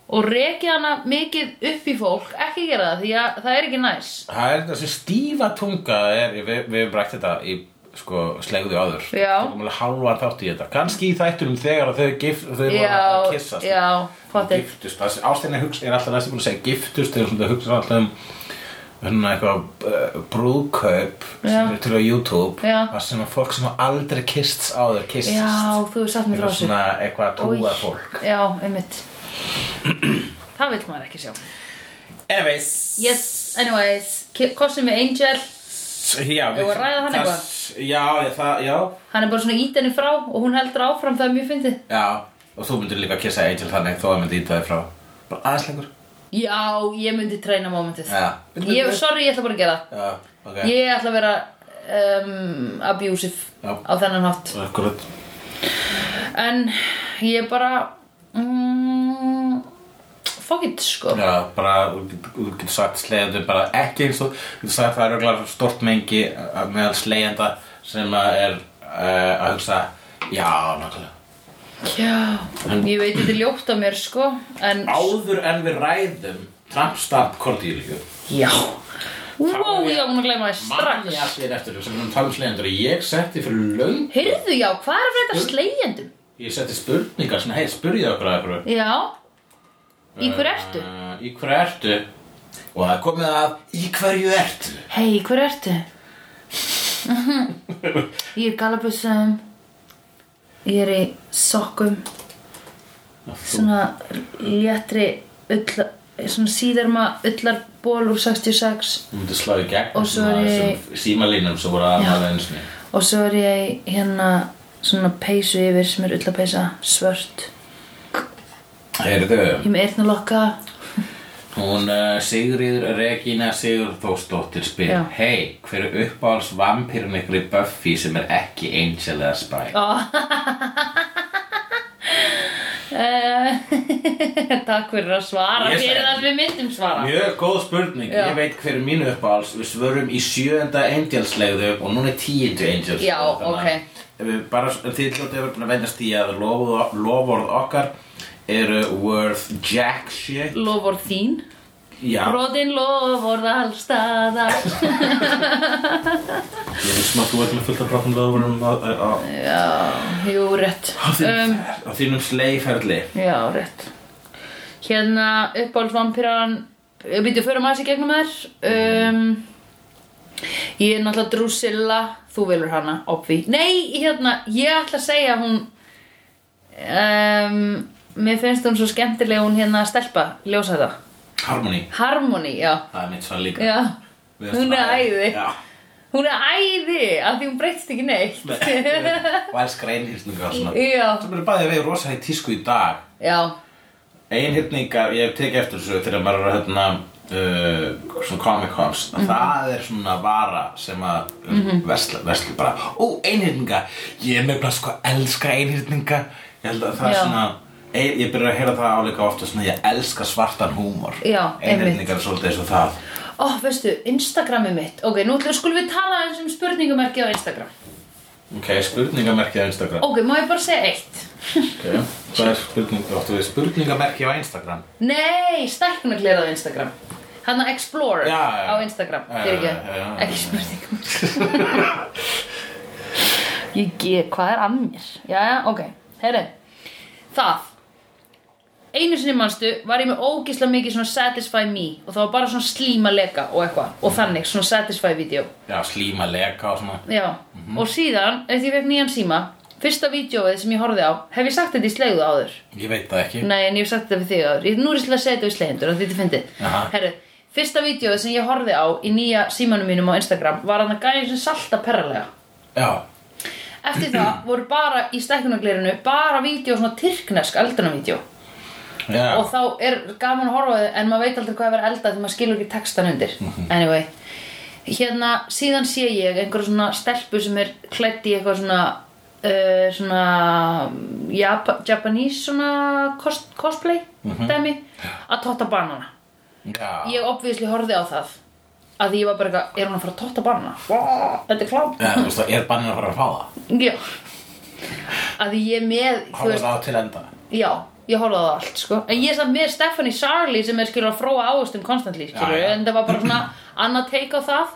og rekið hana mikið upp í fólk ekki gera það, því að það er ekki næs það er þessi stífa tunga er, við, við hefum rætt þetta í sko slegðu áður Já. Tökum alveg hálfan þátt í þetta kannski í þættunum þegar að þau, gif, þau voru að Já, kissast já, fattig giftust, það ástinni hugsa er alltaf næstum búin að segja giftust þegar svona þau hugsa alltaf um hérna eitthvað uh, brúðkaup sem Já. er til á YouTube Já. þar sem að fólk sem aldrei kistst áður kistst Já, þú er satt með eitthvað frásu svona eitthvað trúa fólk Já, einmitt Það vill maður ekki sjá Anyways Yes, anyways, ki- kossinn með Angel Já, Eigum við að ræða hann það- eitthvað? Já, ég, það, já, Hann er bara svona ít henni frá og hún heldur áfram það er mjög fyndið. já og þú myndir líka kissa Angel þannig þó að myndi íta þig frá bara aðeins lengur Já, ég myndi treyna momentið. Já. Ég, sorry, ég ætla bara að gera það. Já, ok Ég ætla að vera um, abusive Já. á þennan hátt. Akkurat En ég bara, mm, fuck it, sko. Já, bara, þú get- þú getur sagt slegjandi bara ekki eins og þú getur sagt það er auðvitað stort mengi að- meðal slegjanda sem að er uh, að hugsa já, nákvæmlega Já, ég veit þetta er ljótt á mér, sko. En, Áður en við ræðum Trampstamp Cordelia já. Wow, Þá er- ég á hún að gleyma það Manni að strax. sér eftir þessum um talum slegjandur ég setti fyrir löng Heyrðu, já, hvað er að fyrir þetta slegjendum? ég setti spurningar svona, hei, spurðið okkur að ykkur Já. Í hver ertu? Uh, í hverju ertu? Og það er komið að í hverju ertu? Hei, hver ertu? ég er galabussum Ég er í sokkum Svona léttri ulla, Svona síðarma ullarból úr 66 Þú myndir slá í gegn Og svo er ég- þessum símalínum sem voru aðmaða eins og Og svo er ég í hérna Svona peysu yfir sem er ullapeysa Svört Heyrðu, Ég er með eyrnalokka hún uh, Sigriður Regína Sigurþórsdóttir spyr Já. Hei, hver er uppáhalds vampirinn ykkur í Buffy sem er ekki Angel eða Spike? Eh, Takk fyrir að svara Ég Fyrir sagði- að við myndum svara Mjög góð spurning, Já. ég veit hver er mínu uppáhalds Við svörum í sjöunda Angelslegðu og núna er tíundu Angels Já, ok Við bara, þið hljótið hefur búin að vennast í að lofuð- loforð okkar eru worth jack shit Lofur þín Já, Bróðin lofurð allstaðar ég veist maður þú ert með fullt af bróðum lofurum á, á, á, Jú, rétt á, þínum- um, á þínum sleiferli Já, rétt Hérna, uppáhaldsvampíran Býttu, förum aðeins í gegnum þær um, Ég er náttúrulega Drusilla Þú velur hana, obvi Nei, hérna, ég ætla að segja að hún um, Mér finnst hún svo skemmtileg Hún hérna stelpa, ljósa það Harmony Harmony, já, Það er mitt svar líka já. Við erum Hún er svona- æði Já Hún er æði, af því hún breytst ekki neitt Og elskar einhyrningar og svona Já. Sem eru bæði vegi rosa í tísku í dag Já, Einhyrningar, ég hef tekið eftir þessu þegar maður er að, hérna uh, svona Comic Cons Mhm. Það er svona vara sem að mm versla, versla bara Ó, einhyrninga Ég er nefnilega sko að elska einhyrninga Ég held að það Já. er svona Ein, ég byrja að heyra það áleika ofta svona ég elska svartan húmor Já, einmitt. Einhyrningar er svolítið eins og það Ó, veistu, Instagramið mitt Ok, nú ætlum skulum við tala eins um spurningamerki á Instagram Ok, spurningamerkið á Instagram Ok, má ég bara segja eitt? Ok, Hvað er spurning, áttu við spurningamerki á Instagram? Nei, stæknaglerað á Instagram Hanna Explorer Já, já, já. á Instagram Já, Fyrir já, já, ekki, já. ekki spurningamerki Ég get, hvað er að mér? Já, já, ok herri, það einu sinni manstu var ég með ógislega mikið svona satisfy me og það var bara svona slíma leka og eitthvað og þannig, svona satisfy video Já, slíma, leka og svona Já, Mhm. og síðan, eftir ég fekk nýjan síma Fyrsta vídjóið sem ég horfði á Hef ég sagt þetta í slegðu áður? Ég veit það ekki Nei, en ég hef sagt þetta við þig áður ég, Nú er ég til að segja þetta við slegjendur, þetta er fyndið Aha. Herru, fyrsta vídjóið sem ég horfði á Í nýja símanum mínum á Instagram Var hann að gæja sem salta perralega Já, Eftir það voru bara í stækkunagleirinu Bara vídjó, svona tyrknesk eldunarvídjó já, og þá er gaman að horfa á þau en maður veit aldrei hvað er verið eldað því maður skilur ekki textan undir anyway hérna síðan sé ég einhverja svona stelpu sem er klætt í eitthvað svona uh, svona Jap Japanese svona cos cosplay dæmi að totta banana já ég obvísli horfði á það að því ég var bara eitthvað, er hún að fara að totta banana Vá, þetta er klám Já, þú veist það, er banninn að fara að fá það já að því ég er með þú Háða veist- það til enda Já, ég horfði á það allt sko En ég er samt með Stephanie Sarli sem er skilur að fróa ávöxtum konstantli skilur Já, já. En það var bara svona annað take á það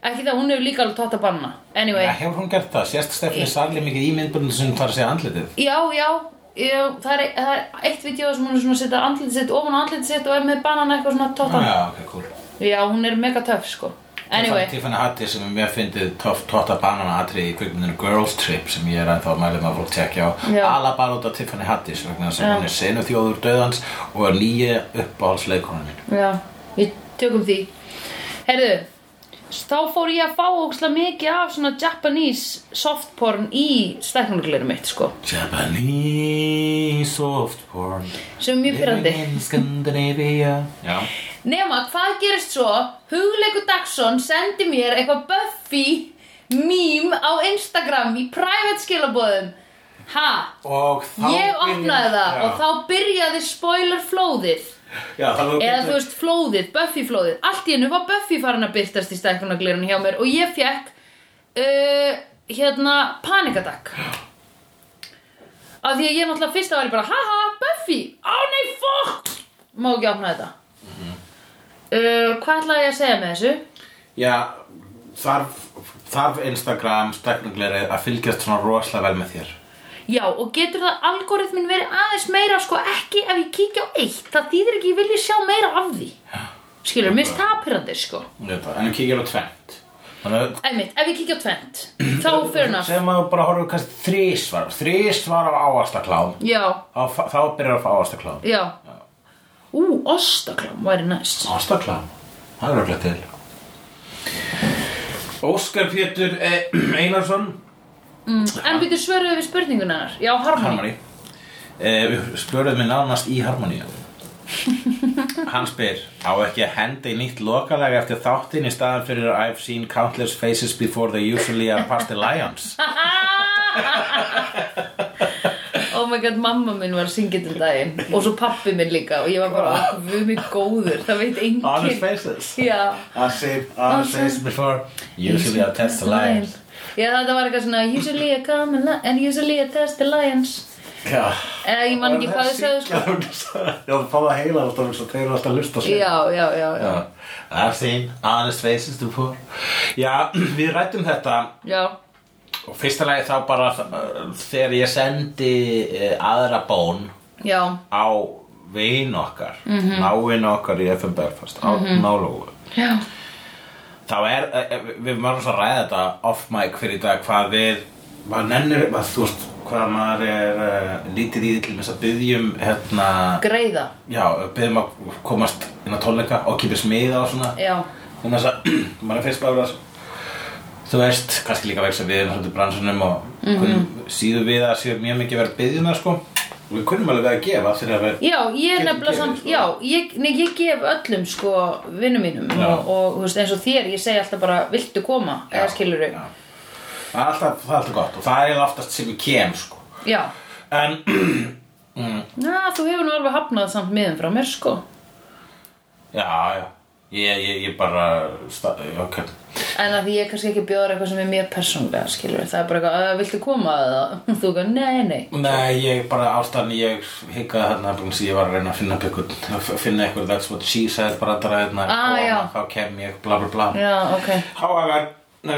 Ekki það, hún hefur líka alveg tótt að banna Anyway, Já, hefur hún gert það? Sérst Stefni Sarli mikið í myndbundin sem þarf að segja andlitið já, já, já það, er, það er eitt vídeo sem hún er svona að setja andlitið sitt ofan á andlitið sitt og er með banana eitthvað svona tótt að Já, ok, cool Já, hún er mega töff sko Anyway. Anyway, Tiffany Hattie sem er mér fyndið tof, totta banana atrið í kvikmyndinu Girls Trip sem ég er ennþá að mæli maður fólk tekja á Já. alla bara út af Tiffany Hattie sem vegna þess að hún er senu þjóður döðans og er nýja uppáhaldsleikonan minn já, við tökum því Heyrðu, þá fór ég að fá ókslega mikið af svona Japanese soft porn í stæknungleirum mitt sko Japanese soft porn sem er mjög pyrrandi Living in Scandinavia Já Nema, hvað gerist svo? Hugleikur Dagsson sendi mér eitthvað Buffy mím á Instagram í private skilabóðum. Ha? Og þá Ég opnaði það Já. og þá byrjaði spoiler flóðið. Já, það var Eða þú veist, flóðið, Buffy flóðið. Allt í hennu var Buffy farin að byrtast í stækkunaglirun hjá mér og ég fekk, uh, hérna, panikadakk. Af því að ég náttúrulega fyrst að var ég bara, haha, Buffy, á nei, fokk, má ekki opna þetta. Uh, hvað ætlaði ég að segja með þessu? Já, þarf, þarf Instagram steknuglerið að fylgjast svona rosalega vel með þér Já, og getur það algoritmin verið aðeins meira sko ekki ef ég kíkja á eitt það þýðir ekki ég vilja sjá meira af því skilur, minnst það pyrrandi sko Þetta. En þú kíkir á tvennt Þannig að einmitt, ef ég kíkja á tvent þá fyrir hana Segðum að þú bara horfum kannski þrísvar Þrísvar á ávastaklám já, Þá, þá byrjar að fá ávastaklám já ú, ostaklám væri næst Ávastaklám? Það er örugglega til Óskar Pétur eh, Einarsson en byrju svöruðu við spurningun hennar já, harmoni Harmony eh, Við spurðum við nánast í Harmony Hann spyr Á ekki að henda í nýtt lokalag eftir þáttin í staðan fyrir I've seen countless faces before they usually are past the lions oh my god, mamma minn var að syngja til daginn og svo pappi minn líka og ég var bara, við mig góður það veit Honest enginn faces já I've seen honest faces before usually are past the lions Já, þetta var eitthvað svona Usually I come and, li- and usually I test the lions Já Eða ég man ekki hvað þau sögðu sko sko Já, það fá það heila alltaf eins og þeir eru alltaf að lusta Já, já, já, já Já, I've seen honest faces before Já, við rættum þetta Já, Og fyrsta lagi þá bara uh, þegar ég sendi uh, aðra bón já, á vin okkar, mm -hmm. náinn okkar í FM Belfast, á mm já Þá er, uh, við varum svo að ræða þetta off mic fyrir í dag hvað við, maður nennir, maður, þú veist, hvað maður er uh, lítið í því til þess að byggjum, hérna, Greiða já, byggjum að komast inn á tónleika og kýpið smiða og svona. Já, Þannig að þess að mann er fyrst bara að- Þú veist, kannski líka vegna sem við erum svolítið bransunum og Mhm. mm síðu við að séu mjög mikið verið byggðunar sko og við kunnum alveg að gefa þegar við já, ég er Getum nefnilega gefið, samt sko. Já, ég, nei, ég gef öllum sko vinnum mínum Já. og, og þú veist, eins og þér, ég segi alltaf bara Viltu koma, Já, eða skilur já. Það er alltaf, það er alltaf gott og það er oftast sem ég kem sko Já, En, na, þú hefur nú alveg hafnað samt miðum frá mér sko já, já, ég, ég, ég bara, sta- ok En að því ég kannski ekki bjóður eitthvað sem er mér persónlega skilur Það er bara eitthvað, "Eh, viltu koma eða Þú eitthvað, nei, nei Nei, ég bara ástæðan ég hikaði þarna vegna þess að ég var að reyna að finna upp ykkur að finna ykkur hérna, that's what she said bara þarna Ah, já. og þá kem ég bla bla bla Já, ok However, uh,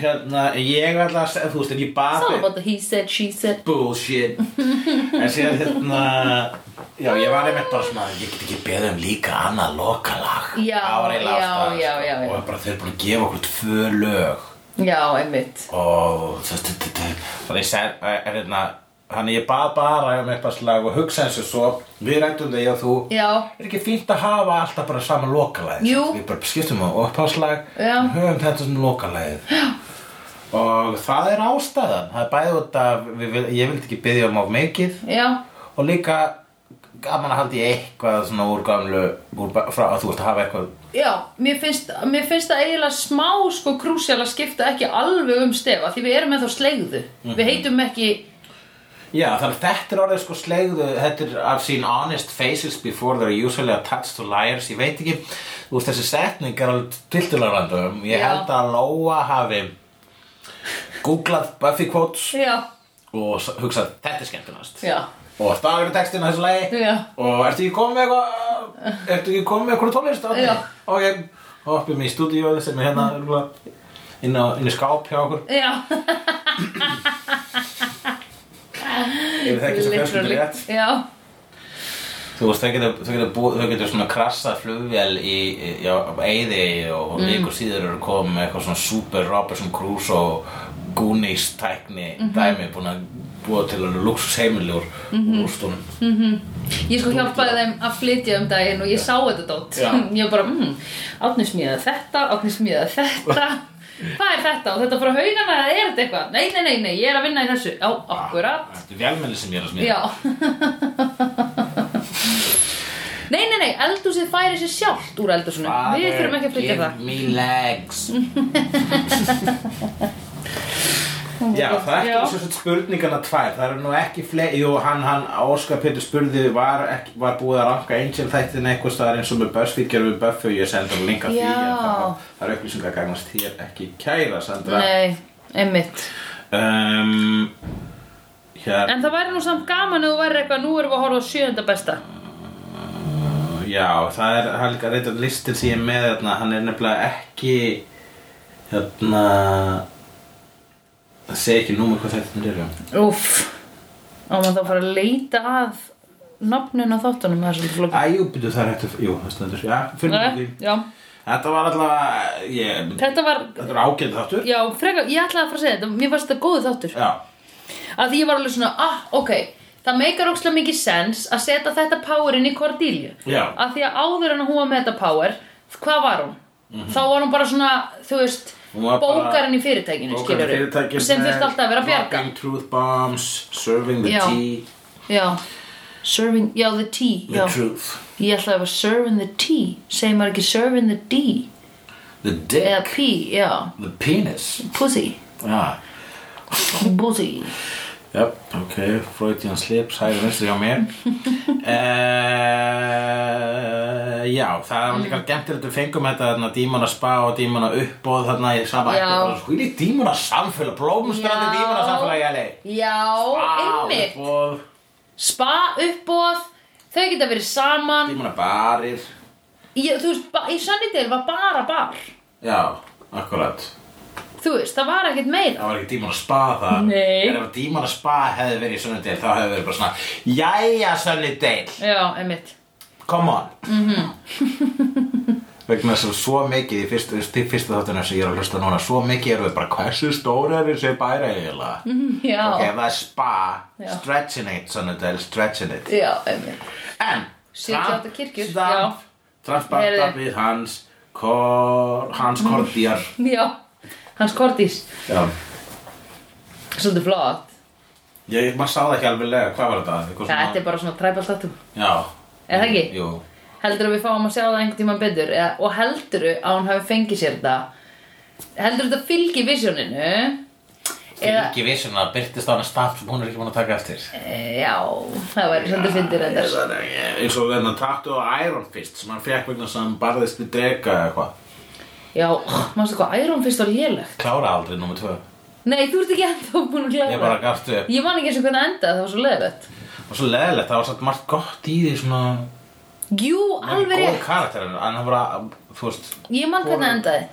hérna, ég alltaf, þú veist, en ég It's all bað about the he said, she said bullshit en síðan hérna já ég var einmitt bara svona ég get ekki beðið um líka annað lokalag Já, Það var já, eiginlega ástæðan, já, sko. já, já. og bara þeir eru búin að gefa okkur tvö lög Já, einmitt og þú veist, þetta- þetta- þannig ég ser er hérna þannig ég bað bara um eitthvað slag og hugsa eins og svo við rættum þig að þú Já, er ekki fínt að hafa alltaf bara saman lokalæð Jú. við bara skiptum á uppháslag Já. höfum þetta sem lokalæð og það er ástæðan það er bæði út af við, vil- ég vildi ekki byggja um of mikið já, og líka gaman að halda í eitthvað svona úr gamlu úr, ba- frá að þú vilt hafa eitthvað já Mér finnst, mér finnst það eiginlega smá sko krúsjál að skipta ekki alveg um stefa Því við erum ennþá slegðu Mhm. Við heitum ekki já þannig að þetta er orðið sko slegðu þetta er I've seen honest faces before they're usually attached to liars ég veit ekki, þú veist þessi setning er alveg tildulega randum ég Já. held að Lóa hafi googlað Buffy quotes Já, og s- hugsað þetta er skemmtilegast já, og það eru textin að þessu lagi Já. og ertu ekki komið með eitthvað ertu ekki komið með eitthvað tónlist Árni? Já. Mm. ok, hoppum í stúdíóið sem er hérna örugglega inn, á, inn í skáp hjá okkur já ef við þekkjum sem fjölskyldur Literally. rétt Já, þú veist, þau getur, þau getur, bú, þau getur svona krassað flugvél í, í já, eiði og mm. vikur síður eru komið með eitthvað svona super Robertson Crusoe og Goonies tækni Mhm. dæmi búin að búa til að luxus heimili úr, Mhm. úr stúlum ég sko hjálpaði þeim að flytja um daginn og ég sá þetta dót Já. Ég var bara, mm, átni smíðaði þetta, átni smíðaði þetta Hvað er þetta? Og þetta frá haugana eða er þetta eitthvað? Nei, nei, nei, nei, ég er að vinna í þessu Já, akkurat þetta er velmenni sem ég er að smíða Já Nei, nei, nei, eldhúsið færi sér sjálft úr eldhúsinu Við þurfum ekki að flytja það Give me legs Já, það er Já. ekki svo spurningana tvær Það eru nú ekki fleiri Jú, hann, hann, Óskar Pétur spurði var, ekki, var búið að ranka Angel þættin eitthvað staðar eins og með BuzzFeed gerum við Buffy Ég sendi hann linka því Já. en það- Það eru upplýsingar gagnast þér ekki kæra, Sandra Nei, einmitt um, hérna, hér, En það væri nú samt gaman ef þú væri eitthvað Nú erum við að horfa á sjöunda besta Já, það er það er líka reyndar listin sem ég er með hérna, Hann er nefnilega ekki Hérna Það segir ekki númer hvað um. þættin eru Úff Á maður þá að fara að leita að Nafnun á þáttunum, það er svolítið flokk Æjú, byrju það er hægt að, jú, það stendur, já, finnum við því. Já, Þetta var allavega, ég, þetta var þetta var ágæð þáttur. Já, frekar, ég ætlaði að fara að segja þetta Mér varst þetta góðu þáttur Já, að því ég var alveg svona, ah, ok það meikar ókslega mikið sens að setja þetta power inn í Cordelia Já. að því að áður en að hún var með þetta power hvað var hún? þá var hún bara svona, þú veist Mhm. Hún var bara- bókarinn í fyrirtækinu, bókar skilur fyrirtækið sem þurfti alltaf að vera að bjarga Dropping truth bombs, serving the Já. tea, já, serving, já, the tea the já. truth, ég ætlaði að vera serving the tea segir maður ekki serving the D the dick, eða P, já, the penis. pussy Já, pussy, jöp, ok, Freudian slips, hægri vinstri hjá mér. uh, já, það var Mm. líka gentilegt við fengum þetta þarna dímana spa og dímana uppbóð þarna í sama Já. Hvíli dímana samfélag, blómstrandi Já. dímana samfélag í LA. já, einmitt uppboð, spa uppbóð þau geta verið saman tímuna barir ég, þú veist, ba- í Sunnydale var bara bar Já, akkurat þú veist, það var ekkert meira Það var ekki tímuna spa það Nei. En ef tímuna spa hefði verið í Sunnydale þá hefði verið bara svona Jæja Sunnydale, já, einmitt come on mm Mhm. -hmm. Vegna þess að svo mikið í fyrst, í fyrsta þáttunum sem ég er að hlusta núna Svo mikið eru við bara hversu stóra er þessi bæra eiginlega mm -hmm. Mhm. já, Ok, ef það er spa, Já. stretching it Sunnydale, stretching it já, einmitt En Sjötíu og átta Trump- kirkjur, já. Trump, Trump bandar við hans kor, Mhm. Hans kordýjar já, hans Kortís Já svolítið flott Ég, maður sá það ekki alveg lega, hvað var þetta? Eitthvað þetta er bara svona træpalt tattoo Já. Er það ekki? Jú. heldur að við fáum að sjá það einhvern tímann betur eða, og heldur að hún hafi fengið sér þetta heldur þetta fylgi visjóninu Eða... Ekki vissum að byrtist á hana staff sem hún er ekki búin að taka eftir. eh, já, það væri svolítið fyndir Ég, þetta það er ekki, eins og þennan tattu á Iron Fist sem hann fekk vegna sem hann barðist við drega eða eitthvað. já, mannstu hvað, Iron Fist var lélegt Klára aldrei nummer tvö. nei, þú ert ekki ennþá búin að Ég glæða bara gafst upp. Ég man ekki eins og hvernig það endaði, það var svo leiðilegt. Og svo leðilegt, það var satt margt gott í því svona... Jú, alveg Góð rétt. karakterinu, en það var að, þú veist... Ég man hvernig það endaði.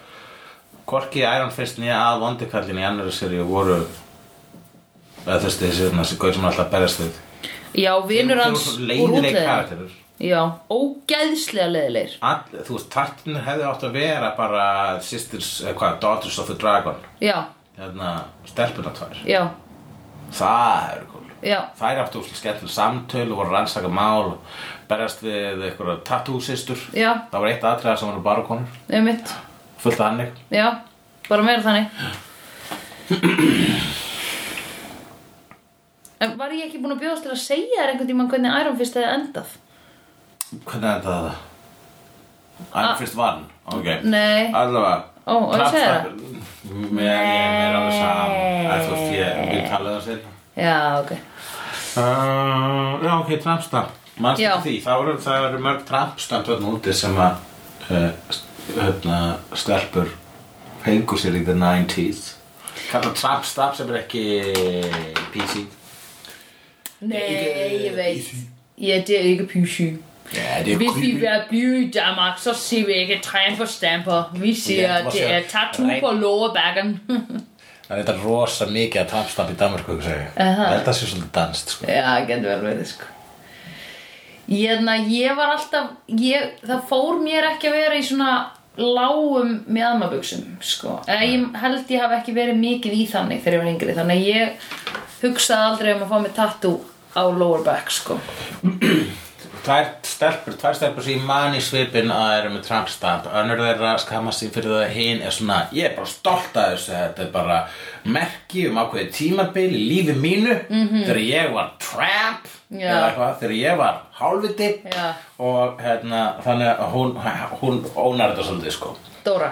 Hvorki Iron Fist nýja að vondikallin í annari seríu voru eða þú veist þessi hérna, þessi gaur sem alltaf berjast við Já, vinur Þeir voru hans svo úr leiðilegir útlegin karakterar. Já, ógeðslega leiðilegir All, þú veist, tartin hefði átt að vera bara sisters, eða hvað, daughters of the dragon Já, hérna, stelpuna tvær já, það er cool já þær áttu úrslega skemmtileg samtöl og voru að rannsaka mál og berjast við einhverja tattoo-sistur Já. það var eitt atriða sem voru bara konur Einmitt, fullt af hannig já, bara meira þannig En var ég ekki búin að bjóðast til að segja þér einhvern tímann hvernig Iron Fist hefði endað? hvernig er þetta það? I'm Ah. fyrst vann ok Nei, allavega Ó, á ég að segja það? Mér ég er alveg saman Það er þú fyrir, Nei. við talaðu það sér já, ok uh, Já, ok, trampstamp Manstu Já. ekki því, það eru, það eru mörg trampstamp Þannig úti sem að uh, hérna, Stelpur Fengu sér í the 90s Kallar trampstamp sem er ekki PC Nei, ég veit Ég det er ikke pysy Ja, det er Hvis vi creepy. vil blive i Danmark, så siger vi ikke træn på stamper Vi siger, Ja, at det var det er sjovt. tattoo Nej. på lårebakken Það er þetta rosa mikið að trampstamp í Danmarku uh -huh. Aha. Þetta sé svolítið danst sko. Já, getur vel verið sko Hérna, ég var alltaf ég, Það fór mér ekki að vera í svona lágum mjadmabuxum sko. Eða ég held ég hafi ekki verið mikið í þannig þegar ég var yngri þannig að ég hugsaði aldrei um að fá mér tattoo á lower back sko. Tvær stelpur, tvær stelpur sem ég man í svipin að eru með trampstamp önnur þeirra skammast sín fyrir það að hinn er svona, ég er bara stolt að þessu þetta er bara merki um ákveði tímabil í lífi mínu -hmm. þegar ég var tramp Mhm. Já. eða eitthvað, þegar ég var hálfviti Já. og hérna, þannig að hún, hún ónar þetta svolítið sko Dóra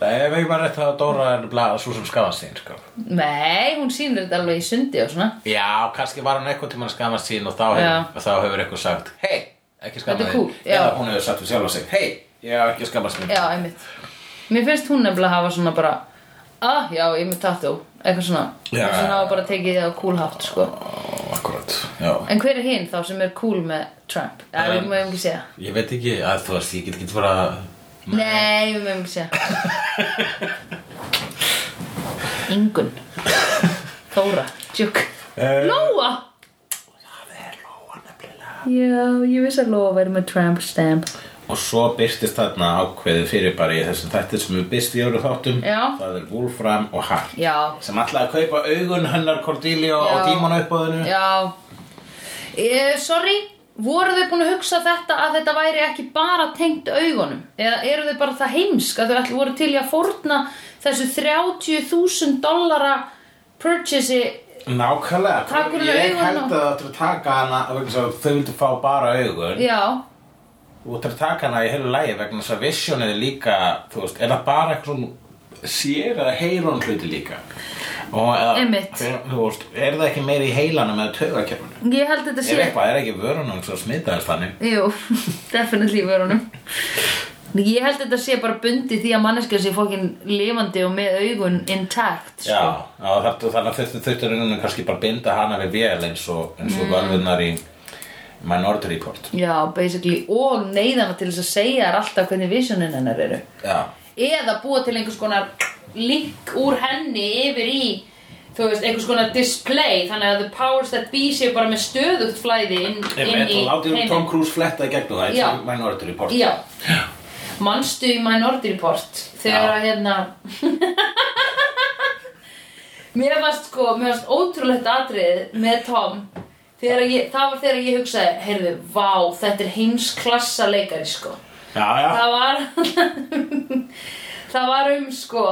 Nei, ef ég var rétt að Dóra er blá, svo sem skammast sín sko Nei, hún sýnir þetta alveg í sundi og svona Já, kannski var hún eitthvað tímann að skammast sín og þá hefur, þá hefur eitthvað sagt Hei, ekki Þetta skammast er þín cool, já. Eða hún hefur sagt við sjálf og sig Hei, ég hef ekki skammast mín Já, einmitt Mér finnst hún nefnilega hafa svona bara Ah, já, ég er með tattoo Eitthvað svona Já. Svona hafa bara tekið það á cool hátt sko. Akkurat, já En hver er hinn þá sem er cool með Trump? Æ, við mögum ekki segja Ég veit ekki að þú veist, ég get ekki bara Nei, við mögum ekki segja Ingun Þóra, tjúk Eh. Lóa Það er lóa nefnilega Já, ég vissi að Lóa væri með Trump stamp Og svo byrtist þarna ákveðið fyrir bara í þessum þætti sem við byrst í öru þáttum Já. Það er Wolfram og Hart Já, Sem alltaf að kaupa augun hennar Cordelia og Já. dímona upp á þennu já e, Sorry, voru þau búin að hugsa þetta að þetta væri ekki bara tengt augunum? Eða eru þau bara það heimsk að þau allir voru til í að forna þessu 30.000 dollara purchase Nákvæmlega, Takk fyrir ég augun held og- að það áttu að taka hana vegna þess að þau vildu fá bara augun Já, Þú ert að taka hana í heilu lægi vegna þess að visionið er líka, þú veist, er það bara eitthvað svona sér eða heyr hún hluti líka? Og eða, Einmitt. þú veist, er það ekki meira í heilanum eða taugakerfinu? ég held þetta Er sé eitthvað, er ekki vörunum svo smitaðist þannig? Jú, definitely vörunum Ég held þetta sé bara bundið því að manneskja sé fókin lifandi og með augun intact sko. Já, á, þarftu, þannig að þurftu þurftu rauninu kannski bara binda hana við vel eins og, eins og Mm. völvunar í Minority Report. Já, basically Og neyðana til þess að segja þér alltaf hvernig visionin hennar eru Já, Eða búa til einhvers konar link úr henni yfir í Þú veist, einhvers konar display Þannig að the powers that be séu bara með stöðugt flæði inn, ef inn í við látið heiminn. Tom Cruise fletta í gegnum það, eins og Já. Minority Report. Já Manstu í Minority Report Þegar Já. að hérna Mér varst sko Mér varst ótrúlegt atrið Með Tom Þegar að ég, það var þegar ég hugsaði, heyrðu, vá, þetta er heimsklassa leikari, sko. Já, já. Það var, það var um, sko,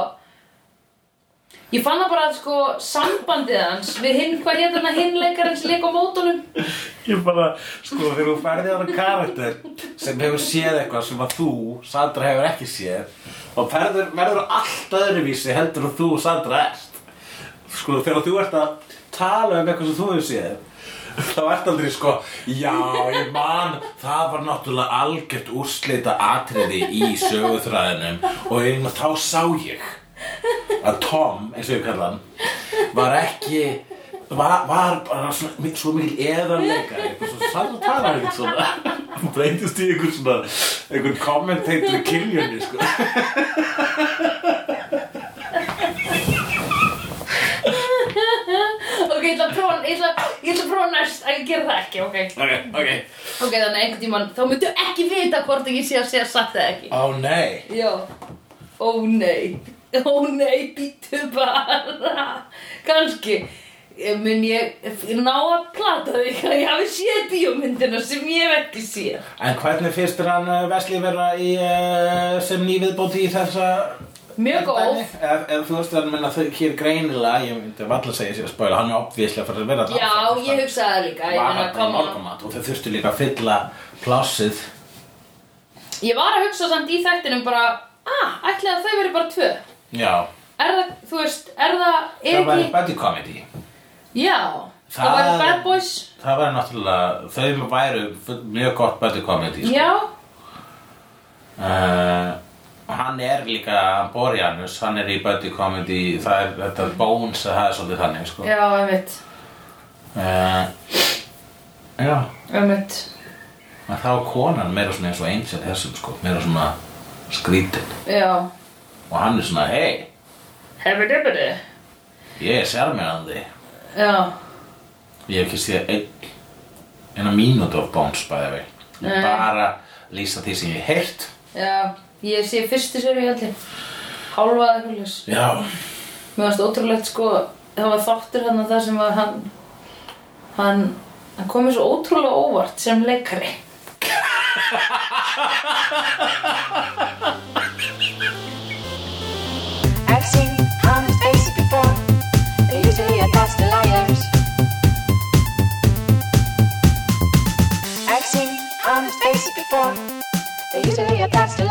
ég fann það bara að, sko, sambandið hans við hinn, hvað hétt hann að hinn leikarinn sem leik á mótunum? Ég bara, sko, þegar þú færði á karakter sem hefur séð eitthvað sem að þú, Sandra, hefur ekki séð og ferður, verður allt öðruvísi heldur en þú, Sandra, ert sko, þegar þú ert að tala um eitthvað sem þú hefur séð þá ert aldrei sko, já, ég man það var náttúrulega algjört úrslita atriði í söguþræðinum og einnig að þá sá ég að Tom, eins og ég kalla hann var ekki var, var bara svona, svo mikil eðanleika svo sann og talar ekkert svona Hún breytist í einhver svona einhver kommentator killjunni sko Ok, ég ætla að prófa, ég ætla, ég ætla að prófa næst að gera það ekki, ok Ok, ok Ok, þannig einhvern tímann, þá myndu ekki vita hvort ég sé að segja satt eða ekki Ó nei Já Ó nei Ó nei, býttu bara Kanski mun ég ná að plata þig að ég hafi séð bíómyndina sem ég hef ekki séð En hvernig finnst þér hann eh, Wesley vera í, uh, sem nýviðbóti í þessa Mjög góð Ef, ef þú veist að menna þau hér greinilega, ég myndi valla að segja sér að spóla, hann er obvíslega fyrir að vera þarna. Já, Þú veist, ég hugsaði það líka hann Ég, Var meina, hann í come on. morgumat og þau þurftu líka að fylla plássið. ég var að hugsa samt í þættinum bara Ah, ætli að þau verið bara tvö Já, Er það, þú veist, er það, er það væri ekki buddy comedy. Já, það Það- var Bad Boys Það væri náttúrulega, þau væru full- mjög gott buddy comedy. sko. Já, Uh, hann er líka Borjanus, hann er í buddy comedy, það er, þetta er Bones, það er svolítið þannig, sko. já, einmitt Uh, já, Einmitt en þá er konan meira svona eins og Angel þessum sko, meira svona skrítinn Já og hann er svona, hei, Hefur þið bara ég er sérmjörandi Já ég hef ekki séð einn eina mínútu af Bones bæði vei Nei. ég bara lýsa því sem ég hef heyrt Já, ég sé fyrstu sér í allir Hálfa eða eitthvað leys já, Mér varst ótrúlegt sko Það var þáttur hann að það sem var hann Hann Hann komið svo ótrúlega óvart sem leikari I've seen honest faces before. They're usually a pass to liars. I've seen honest faces before. They're usually a pass to